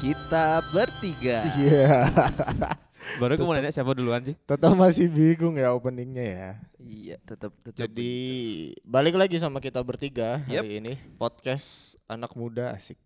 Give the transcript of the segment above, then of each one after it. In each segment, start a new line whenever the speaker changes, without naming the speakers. kita bertiga.
Iya.
Baru gue mau nanya siapa duluan sih?
Tetap masih bingung ya openingnya ya.
Iya, tetap tetap.
Jadi balik lagi sama kita bertiga
Yep.
hari ini podcast anak muda asik.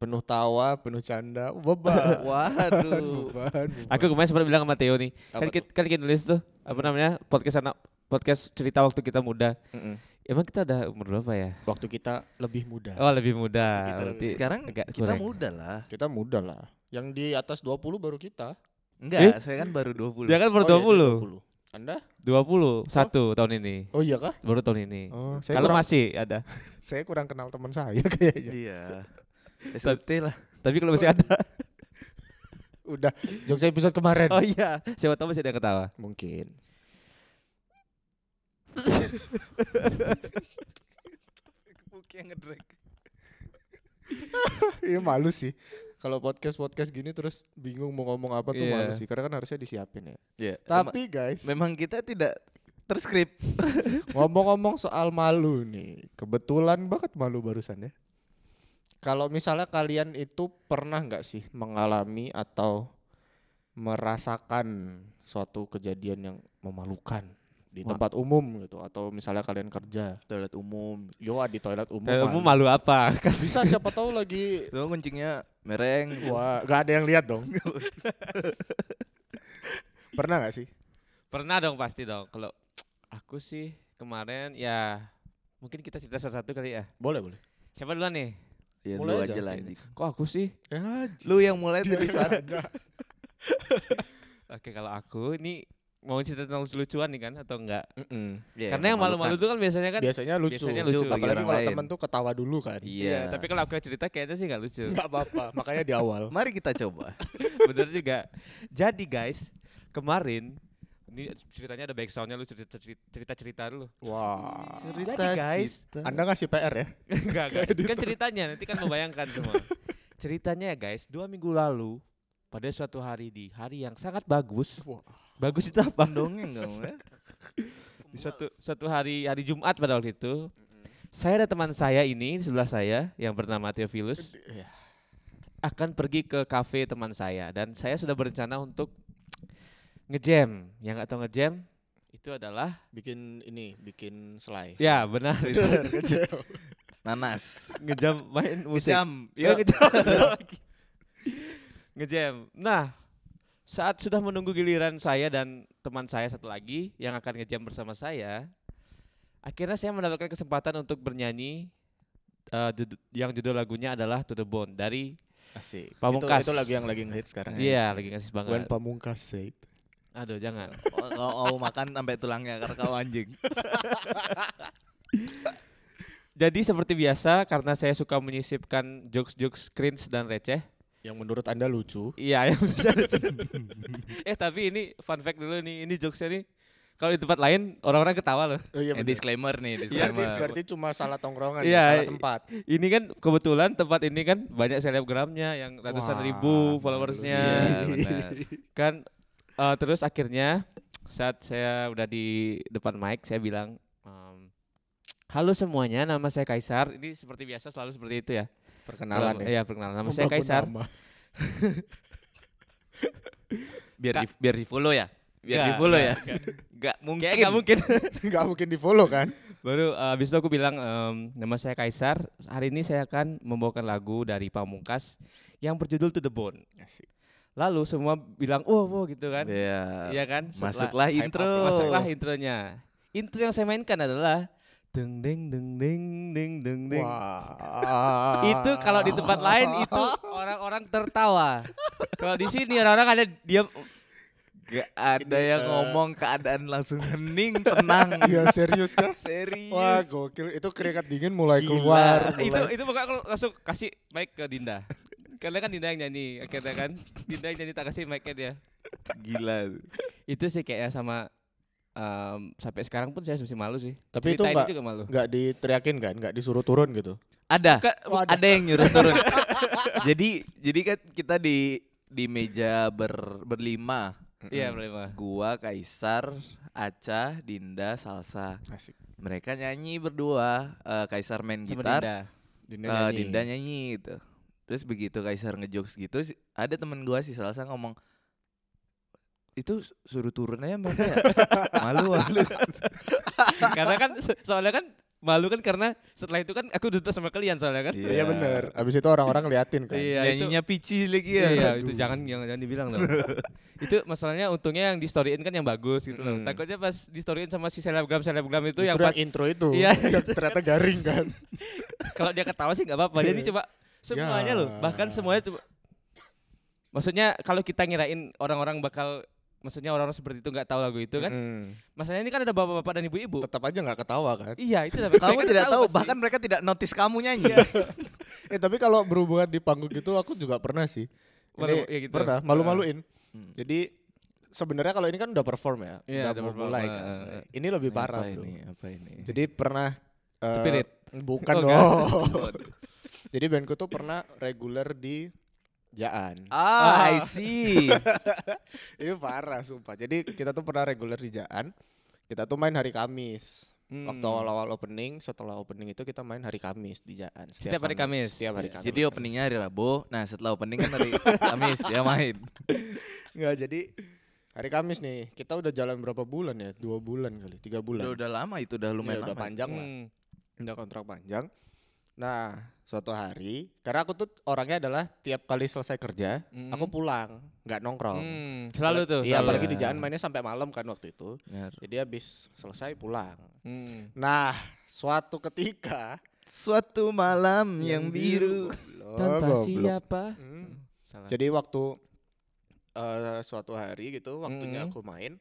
Penuh tawa, penuh canda, beban. beban,
waduh.
beban.
Aku kemarin sempat bilang sama Theo nih.
Apa
Kan kita, kan kita nulis tuh apa namanya? Podcast anak podcast cerita waktu kita muda.
Mm-mm.
Emang kita udah umur berapa ya?
Waktu kita lebih muda.
Oh, lebih muda.
Waktu kita
Berarti
Sekarang
agak
kita
kurang.
muda lah.
Kita muda lah. Yang di atas 20 baru kita.
Enggak, saya kan baru 20.
Dia Eh? kan baru
Oh, iya, Anda?
20. 20 satu tahun ini.
Oh iya kah?
Baru tahun ini.
Oh, saya
Iya. Kalau
kurang,
masih ada.
saya kurang kenal teman saya kayaknya.
Iya. SBT lah.
Tapi kalau masih ada.
Udah, jokes episode kemarin.
Oh iya, siapa tahu masih ada yang ketawa.
Mungkin.
Buknya ngedrag.
Ini Iya, malu sih. Kalau podcast-podcast gini terus bingung mau ngomong apa tuh
Iya.
malu sih. Karena kan harusnya disiapin ya.
Iya. Tapi
Tapi guys,
memang kita tidak terskrip.
ngomong-ngomong soal malu nih. Kebetulan banget malu barusan ya. Kalau misalnya kalian itu pernah nggak sih mengalami atau merasakan suatu kejadian yang memalukan di
Ma-
tempat umum gitu atau misalnya kalian kerja
Toilet umum.
yo di toilet umum malu.
Kayak Kamu Eh, malu apa?
bisa siapa tahu lagi
Tuh kuncinya mereng.
Wah, gak ada yang lihat dong. Pernah gak sih?
Pernah dong pasti dong. Kalau aku sih kemarin ya mungkin kita cerita satu-satu kali ya.
Boleh, boleh.
Siapa duluan nih?
Ya
Mulai
lu
aja.
aja lah anjing.
Kok aku sih?
Ya,
Lu yang mulai tadi saat.
Oke kalau aku ini mau cerita tentang lucu-lucuan nih kan atau enggak?
Iya,
Karena yang
memalukan.
malu-malu itu kan biasanya kan.
biasanya lucu.
biasanya lucu bagi
Apalagi
orang
kalau
lain.
temen tuh ketawa dulu kan.
Iya.
tapi kalau aku cerita kayaknya sih enggak lucu.
Gak apa-apa, makanya di awal.
mari kita coba.
Bener juga. Jadi guys kemarin ini ceritanya ada back soundnya lu cerita cerita cerita dulu.
Wah.
Jadi guys,
cita.
Anda ngasih PR ya?
Enggak, enggak. Kan ceritanya nanti kan membayangkan semua. Ceritanya ya guys, dua minggu lalu pada suatu hari di hari yang sangat bagus.
Wah.
Bagus itu apa?
dongeng kamu ya.
Di suatu suatu hari hari Jumat pada waktu itu. Saya dan teman saya ini di sebelah saya yang bernama Theophilus akan pergi ke kafe teman saya dan saya sudah berencana untuk ngejam. Yang nggak tahu ngejam itu adalah
Bikin ini, bikin slide.
ya benar itu
Nanas. Iya.
ngejam main musik.
Jam.
Ya
Yuk.
ngejam lagi. Ngejam. Nah, saat sudah menunggu giliran saya dan teman saya satu lagi yang akan ngejam bersama saya, akhirnya saya mendapatkan kesempatan untuk bernyanyi eh, judu- yang judul lagunya adalah To The Bone dari
Asik.
Pamungkas.
Itu, itu lagu yang lagi ngehit sekarang
Iya, lagi ngasih
When
banget.
Pamungkas said.
Aduh, jangan.
Kalau mau makan sampai tulangnya karena kau anjing.
Jadi seperti biasa karena saya suka menyisipkan jokes-jokes cringe dan receh.
Yang menurut Anda lucu.
Iya, yang bisa receh. eh, tapi ini fun fact dulu nih. Ini jokesnya nih kalau di tempat lain orang-orang ketawa loh.
Oh iya
Eh,
bener.
disclaimer nih,
Berarti,
disclaimer.
Iya, berarti cuma salah tongkrongan, ya,
Iya,
salah
i-
tempat.
Ini kan kebetulan tempat ini kan banyak selebgramnya yang ratusan
Wah,
ribu
manusia.
followersnya
Iya, benar.
kan eh, terus akhirnya saat saya udah di depan mic saya bilang em, halo semuanya nama saya Kaisar ini seperti biasa selalu seperti itu ya
Perkenalan
Selalu-
ya.
iya, perkenalan nama saya
Membangun
Kaisar
nama.
Biar
Kak.
di, biar di follow ya. Biar
Nggak,
di follow ya.
nggak, nggak.
Enggak mungkin.
Kayaknya nggak mungkin
Gak mungkin di follow kan?
Baru eh, habis itu aku bilang em, nama saya Kaisar. Hari ini saya akan membawakan lagu dari Pamungkas yang berjudul To The Bone.
Asik.
Lalu semua bilang wow wow gitu kan.
Iya.
Iya kan? Setelah-
Masuklah
hype up,
intro.
Masuklah intronya. Intro yang saya mainkan adalah deng deng deng deng deng deng deng.
Wah.
Itu kalau di tempat lain itu orang-orang tertawa. kalau di sini orang-orang ada diam.
Gak ada
Ini,
yang
eh,
ngomong keadaan langsung hening, tenang.
Iya serius kah?
Serius. kan?
Wah gokil, itu keringat dingin mulai
Gila.
keluar.
itu
mulai-
itu pokoknya aku langsung kasih mic ke Dinda. Karena kan Dinda yang nyanyi, akhirnya kan Dinda yang nyanyi tak kasih mic-nya dia.
Gila.
itu sih kayaknya sama em, sampai sekarang pun saya masih malu sih.
Tapi itu
Ceritain
nggak-
juga malu.
nggak diteriakin kan, nggak disuruh turun gitu.
Ada.
Ke-
Wah,
ada yang nyuruh turun. jadi jadi kan kita di di meja ber, berlima.
Iya, berlima.
Gua, Kaisar, Aca, Dinda, Salsa.
Asik.
Mereka nyanyi berdua. Eh, Kaisar main
Sama
gitar,
Dinda.
Dinda
eh,
Ah, nyanyi.
Dinda nyanyi gitu. Terus begitu Kaisar ngejokes gitu, si- ada temen gua si Salsa ngomong itu su- suruh turun aja mereka ya. malu malu.
karena kan so- soalnya kan malu kan karena setelah itu kan aku duduk sama kalian soalnya kan.
Iya bener. Abis itu orang-orang ngeliatin kan.
Iya, itu-
Nyanyinya pici lagi
Iya,
ya.
itu jangan jangan, jangan dibilang dong. itu masalahnya untungnya yang di storyin kan yang bagus gitu loh.
Hmm.
Takutnya pas di storyin sama si selebgram selebgram
Justru
itu yang pas
intro itu.
Iya.
yang ternyata garing kan.
kalau dia ketawa sih nggak apa-apa. Dia ini coba semuanya loh, bahkan
Iya. Ya.
semuanya coba. Maksudnya kalau kita ngirain orang-orang bakal maksudnya orang-orang seperti itu nggak tahu lagu itu kan.
Mm.
Masalahnya ini kan ada bapak-bapak dan ibu-ibu.
Tetap aja nggak ketawa kan.
Iya, itu lah.
Kamu
Mereka
tidak tahu,
pasti.
bahkan mereka tidak notice kamu nyanyi.
Eh tapi kalau berhubungan di panggung gitu aku juga pernah sih. Ini
Malu- ya gitu.
pernah malu-maluin.
Hmm.
Jadi sebenarnya kalau ini kan udah perform ya,
Iya,
udah
udah
mau
perform,
mulai
eh,
kan.
eh, eh.
Ini lebih parah
apa
bro.
ini? Apa ini?
Jadi pernah eh,
Spirit.
bukan
Iya. Oh,
dong.
enggak.
Jadi bandku tuh pernah reguler di Jaan.
Ah, I see.
Ini parah sumpah. Jadi kita tuh pernah reguler di Jaan. Kita tuh main hari Kamis. Waktu
Hmm.
awal-awal opening, setelah opening itu kita main hari Kamis di Jaan.
Setiap hari Kamis.
Setiap hari
Iya.
Kamis.
Jadi openingnya hari Rabu. Nah setelah opening kan hari Kamis dia main.
Enggak, jadi hari Kamis nih. Kita udah jalan berapa bulan ya? Dua bulan kali, tiga bulan.
Udah, udah lama itu Iya, udah lumayan
Ya, udah
lama.
panjang lah.
Hmm.
Udah kontrak panjang. Nah, suatu hari, karena aku tuh orangnya adalah tiap kali selesai kerja,
Hmm.
aku pulang, nggak nongkrong.
Hmm, selalu tuh. ya.
Iya,
selalu.
apalagi di jalan mainnya sampai malam kan waktu itu.
Bener.
Jadi habis selesai pulang.
Hmm.
Nah, suatu ketika
Suatu malam yang biru.
Goblok,
Tanpa
Oh, goblok.
siapa?
Hmm.
Salah.
Jadi waktu eh, suatu hari gitu, waktunya
Mm-mm.
aku main,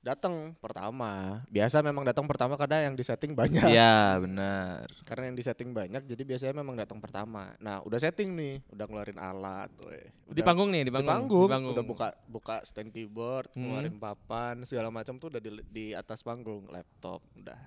datang pertama. Biasa memang datang pertama karena yang disetting banyak.
Iya benar.
Karena yang disetting banyak, jadi biasanya memang datang pertama. Nah, udah setting nih, udah ngeluarin alat, weh.
di
Udah-
panggung nih, di
di
panggung.
panggung,
di panggung.
udah buka buka stand keyboard,
Hmm.
ngeluarin papan, segala macam tuh udah di, di atas panggung, laptop, udah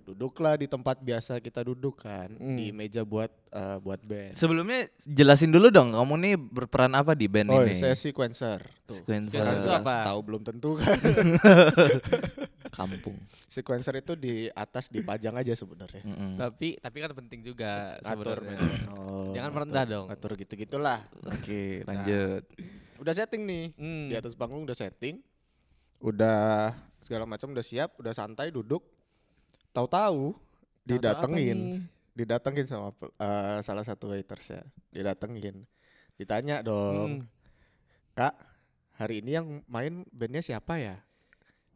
duduklah di tempat biasa kita duduk kan,
Hmm.
di meja buat eh, buat band.
Sebelumnya jelasin dulu dong kamu nih berperan apa di band
Oh,
ini?
saya sequencer tuh.
iya. Sequencer
Kan
Sequencer itu
juga
apa?
Tahu belum tentu kan.
kampung.
sequencer itu di atas dipajang aja sebenarnya.
Mm-mm.
Tapi tapi kan penting juga
Atur
sebenarnya.
metronom.
Hmm. Jangan
atur-
merendah dong.
Atur Oh. gitu-gitulah. Nah,
Oke lanjut.
Udah setting nih.
Hmm.
Di atas panggung udah setting. Udah segala macam udah siap, udah santai duduk. Tahu-tahu
Tahu-tahu apa
didatengin,
nih?
didatengin sama pe- eh, salah satu waiters ya. Didatengin. Ditanya
Hmm.
dong, "Kak, hari ini yang main bandnya siapa ya?"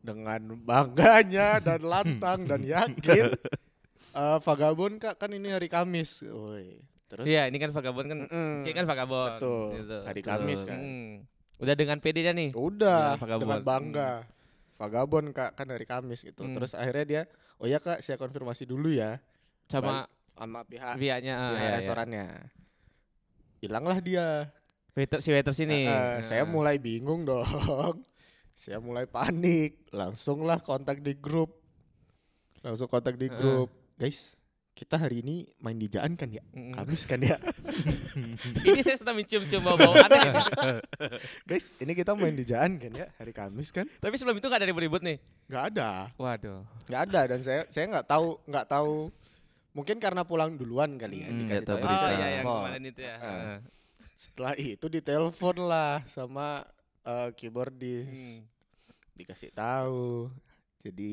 Dengan bangganya dan lantang dan yakin eh vagabond Kak kan ini hari Kamis. Woi. Terus
Iya, ini kan vagabond kan.
mm-mm.
Ini kan vagabond.
Betul. Hari Kamis kan. Oh,
Hmm. Udah dengan PD-nya nih.
Udah,
Dengan vagabond.
dengan bangga. Vagabond kak kan hari Kamis gitu.
Hmm.
Terus akhirnya dia, oh ya kak saya konfirmasi dulu ya
Sama
sama pihak,
pihaknya ah,
pihak
iya, iya.
restorannya. Hilanglah dia.
Waiter si waiter sini.
Eh, eh, saya
Ah.
mulai bingung dong. saya mulai panik. Langsunglah kontak di grup. Langsung kontak di
Eh, eh.
grup. Guys, kita hari ini main di Jaan kan ya?
Mm-mm.
Kamis kan ya?
Hmm. ini saya sedang mencium-cium bau-bau aneh.
Guys, ini kita main di Jaan kan ya? Hari Kamis kan?
Tapi sebelum itu gak ada ribut-ribut nih.
Gak ada.
Waduh.
nggak ada dan saya saya nggak tahu nggak tahu mungkin karena pulang duluan kali ya
Hmm, nggak
dikasih
tahu
tahu
Oh
berita.
di
iya yang
transport.
kemarin itu ya.
Ah.
Ah.
setelah itu ditelepon lah sama eh, keyboardis
Hmm.
dikasih tahu jadi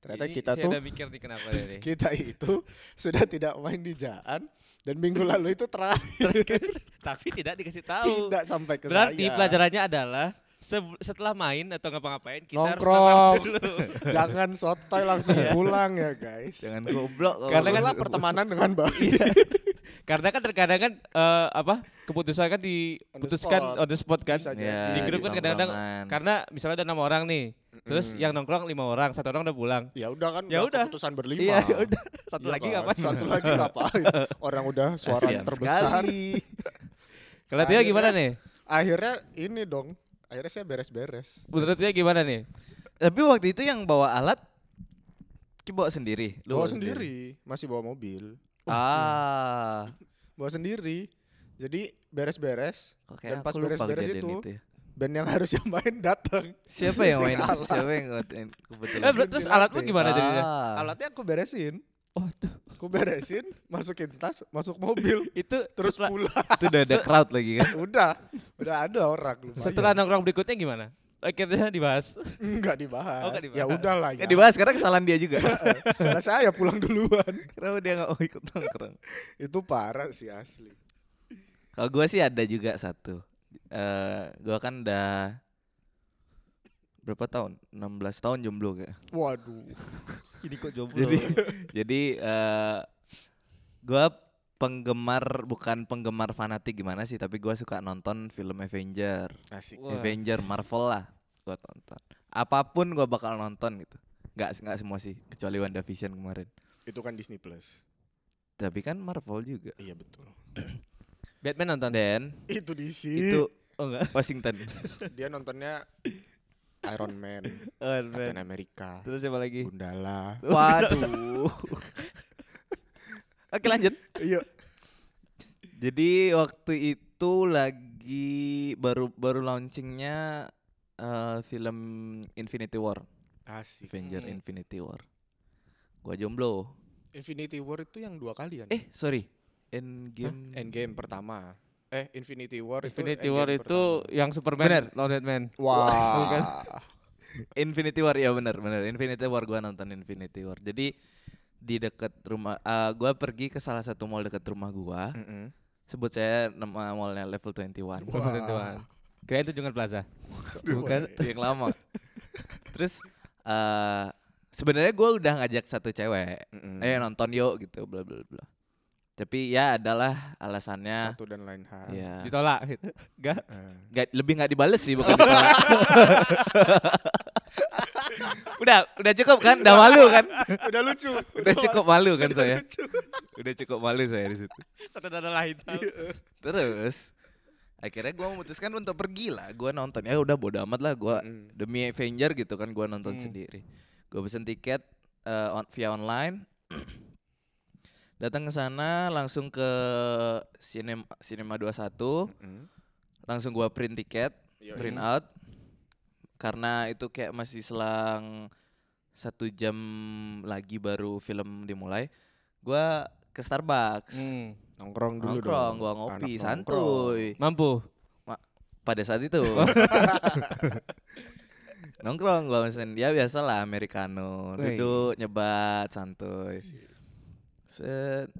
ternyata
Ini
kita
saya
tuh
udah mikir nih kenapa ini.
kita itu sudah tidak main di Jaan dan minggu lalu itu terakhir
Tapi tidak dikasih tahu.
tidak sampai ke
Berarti
saya.
pelajarannya adalah se- setelah main atau ngapa-ngapain kita
Nongkrong.
harus nongkrong dulu. Iya.
jangan sotoy langsung pulang ya guys
Jangan goblok. kamu.
karena kan pertemanan dengan baik
Iya. Karena kan terkadang kan eh, apa keputusan kan diputuskan
spot.
on the spot kan.
Bisa jadi.
Ya,
Di grup kan kadang-kadang
tongkrongan.
Karena misalnya ada enam orang nih, terus
Mm-mm.
yang nongkrong lima orang, satu orang udah pulang.
ya udah kan udah
Ya udah.
keputusan berlima
Iya, ya udah. Satu
Iya
lagi
kan?
ngapain?
Satu lagi ngapain? Orang udah suara
Kasian
terbesar.
sekali.
Kalau Tio gimana
Akhirnya-
nih?
Akhirnya ini dong. Akhirnya saya beres-beres.
Menurut Tio gimana nih?
Tapi waktu itu yang bawa alat, Ki bawa sendiri. Lu
Bawa sendiri, masih bawa mobil.
Ah,
Bawa sendiri. Jadi beres-beres.
kok
Dan
kayak
pas
aku lupa
beres-beres
kejadian
itu,
itu ya.
Band yang harusnya main datang.
Siapa yang main?
Alat.
Siapa yang Ah. main?
Eh, ber- terus alat lu Eh, gimana jadinya?
Alatnya aku beresin.
Waduh.
ku beresin, masukin tas, masuk mobil,
Itu
terus
setelah,
pulang.
Itu udah ada
Se-
crowd lagi kan.
udah, udah ada orang lumayan.
setelah nongkrong berikutnya gimana? Akhirnya dibahas.
enggak dibahas.
Oh, nggak
Ya
dibahas.
udahlah
Ya
ya.
dibahas karena kesalahan dia juga.
Salah saya pulang duluan.
Kenapa dia gak mau ikut nongkrong?
Itu parah sih asli.
Kalau gue sih ada juga satu. Eh, gue kan udah berapa tahun? 16 tahun jomblo kayak.
Waduh.
Ini kok jomblo.
Jadi jadi eh gue penggemar bukan penggemar fanatik gimana sih, tapi gue suka nonton film Avenger,
Asik.
Wah.
Avenger Marvel lah. Gue tonton. Apapun gue bakal nonton gitu. Nggak nggak semua sih, kecuali WandaVision kemarin.
Itu kan Disney Plus.
Tapi kan Marvel juga.
Iya betul.
Batman nonton deh.
Dan
Itu DC.
itu
Oh enggak.
Washington.
Dia nontonnya Iron Man, Captain America,
Terus siapa lagi?
Gundala.
Waduh. Oke lanjut.
Iya.
Jadi waktu itu lagi baru baru launchingnya eh, film Infinity War,
Asik.
Avenger
Hmm.
Infinity War. Gua jomblo.
Infinity War itu yang dua kali kan?
Eh sorry, Endgame.
Endgame pertama. Eh, Infinity War itu
Infinity
Endgame
War itu
pertama.
yang Superman
Bener.
lawan Batman. Bukan.
Wah.
Infinity War ya benar benar Infinity War gua nonton Infinity War. Jadi di dekat rumah, eh, gua pergi ke salah satu mall dekat rumah gua.
Mm-mm.
Sebut saya nama mallnya Level 21.
Wah.
Bukan Tuan. Kira itu Jungle Plaza.
So-
Bukan.
Wah,
yang lama. Terus eh sebenarnya gue udah ngajak satu cewek,
Mm-mm.
ayo nonton yuk gitu, bla bla bla. Tapi ya adalah alasannya,
Satu dan lain hal.
ya
Ditolak gitu. Enggak.
Eh,
nggak- lebih nggak dibales sih bukan. ditolak. udah udah cukup kan, udah malu kan,
udah lucu.
udah cukup malu kan
udah
saya,
lucu.
udah cukup malu saya di situ.
Satu dana lain.
Terus akhirnya gue memutuskan untuk pergi lah, gue nonton ya udah bodo amat lah gue
Mm.
demi Avenger gitu kan gua nonton
Hmm.
sendiri gue pesen tiket eh, on- via online datang ke sana langsung ke cinema cinema 21
Mm-mm.
langsung gua print tiket
Yoi.
print out karena itu kayak masih selang satu jam lagi baru film dimulai gua ke Starbucks
Hmm.
Nongkrong dulu
nongkrong
dong.
gua
Anak
ngopi
nongkrong.
santuy
Mampu.
pada saat itu nongkrong gua mesen ya biasalah americano
Wih.
duduk nyebat santuy Set.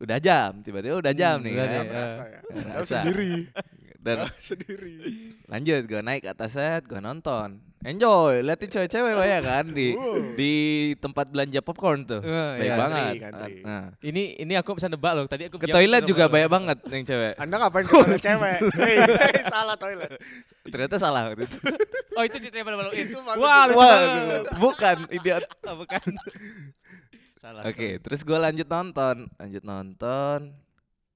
udah jam tiba-tiba udah jam
Hmm,
nih
udah
kan.
Nggak
Iya.
berasa ya.
Nggak
Padahal
berasa.
sendiri.
dan
Padahal sendiri.
lanjut gua naik ke atas set gua nonton enjoy liatin cewek-cewek ya kan di
Wow.
di tempat belanja popcorn tuh
Eh,
baik
iya.
banget
Ngantri, ngantri.
Nah,
Ini ini aku bisa nebak loh. Tadi aku
ke
diam,
toilet
aku
juga
nebak
banyak
loh.
banget yang cewek
Anda ngapain ke toilet cewek? Hei, hei, salah toilet.
ternyata salah waktu itu.
Oh, itu ceritanya baru-baru itu.
Itu malu
Wah,
juga.
lucu
Wah,
banget.
bukan idiot
Oh, bukan. Salah.
Oke, terus gue lanjut nonton, lanjut nonton.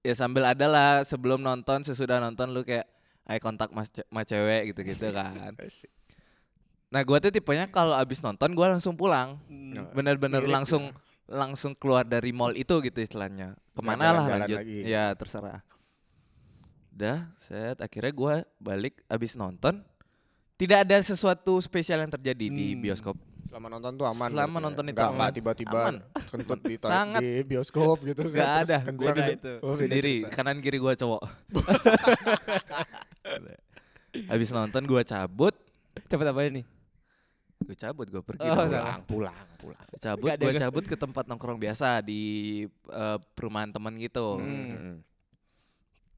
Ya sambil ada lah sebelum nonton, sesudah nonton lu kayak eye kontak mas, ce- sama cewek gitu-gitu kan.
Asik.
Nah gue tuh tipenya kalau abis nonton gue langsung pulang,
Hmm.
bener-bener
Nah, Mirip gitu.
langsung langsung keluar dari mall itu gitu istilahnya. Kemana lah
jalan-jalan
lanjut?
lagi.
Ya terserah. Dah, set. Akhirnya gue balik abis nonton. Tidak ada sesuatu spesial yang terjadi di
Hmm.
bioskop.
Selama nonton tuh aman.
Selama
berarti ya?
nonton itu
Nggak- nggak
aman.
tiba-tiba
Aman.
kentut di, toilet-
Sangat.
di bioskop gitu kan.
Gak
terus
ada,
kencang.
gue duduk
itu.
Oh, beda
sendiri
cerita.
kanan kiri gua cowok. Habis nonton gua cabut,
Cepet apa ini?
gua cabut, gua pergi.
Oh,
dong.
salah.
Pulang, pulang, pulang.
Gua Cabut,
Nggak ada
gua
gua.
cabut ke tempat nongkrong biasa di eh, perumahan teman gitu.
Hmm.
Mm.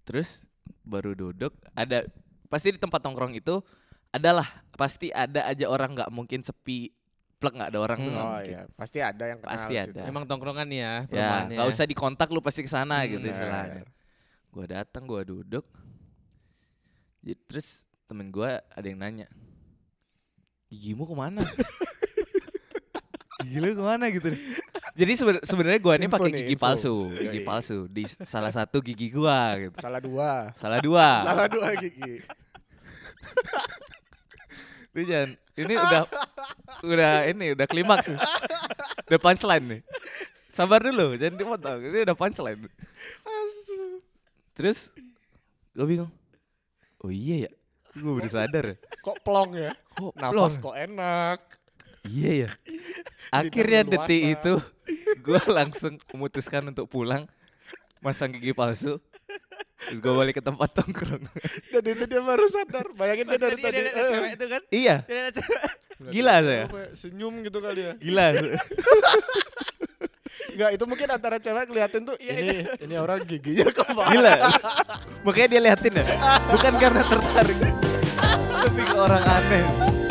Terus baru duduk, ada pasti di tempat nongkrong itu adalah pasti ada aja orang nggak mungkin sepi plek nggak ada orang tuh nggak
Oh
mungkin.
iya, pasti ada yang kenal
Hmm. Pasti
situ.
ada.
Emang tongkrongan nih ya,
Ya,
perumahannya.
nggak usah dikontak lu pasti ke sana
Hmm,
gitu
iya,
Bener.
istilahnya. Gua datang, gua duduk. Ya, Terus temen gua ada yang nanya, gigimu kemana? Gigi lu kemana gitu? nih. Jadi seben- sebenarnya gua ini
Info
pakai
nih,
gigi
info. Iya,
palsu, gigi
Yoi.
palsu di salah satu gigi gua gitu.
Salah dua.
Salah dua.
Salah dua gigi.
Lu jangan, ini udah udah ini udah klimaks. nih. Udah punchline nih. Sabar dulu, jangan dipotong. Ini udah punchline. Terus gue bingung. Oh iya ya. Gue baru sadar. ya.
Kok plong ya?
Kok
Nafas
plong?
kok enak.
Iya ya. Akhirnya
berluasa.
detik itu gue langsung memutuskan untuk pulang masang gigi palsu gue balik ke tempat tongkrong
Dan itu dia baru sadar. Bayangin dia dari
Tadi
tadi.
ada- ada
eh,
cewek itu kan?
iya
Tadi ada cewek.
gila saya
apa ya, Senyum gitu kali ya.
gila
Enggak, itu mungkin antara cewek kelihatan tuh
Iya,
ini ini orang giginya kemana.
gila makanya dia liatin ya bukan karena tertarik tapi ke orang aneh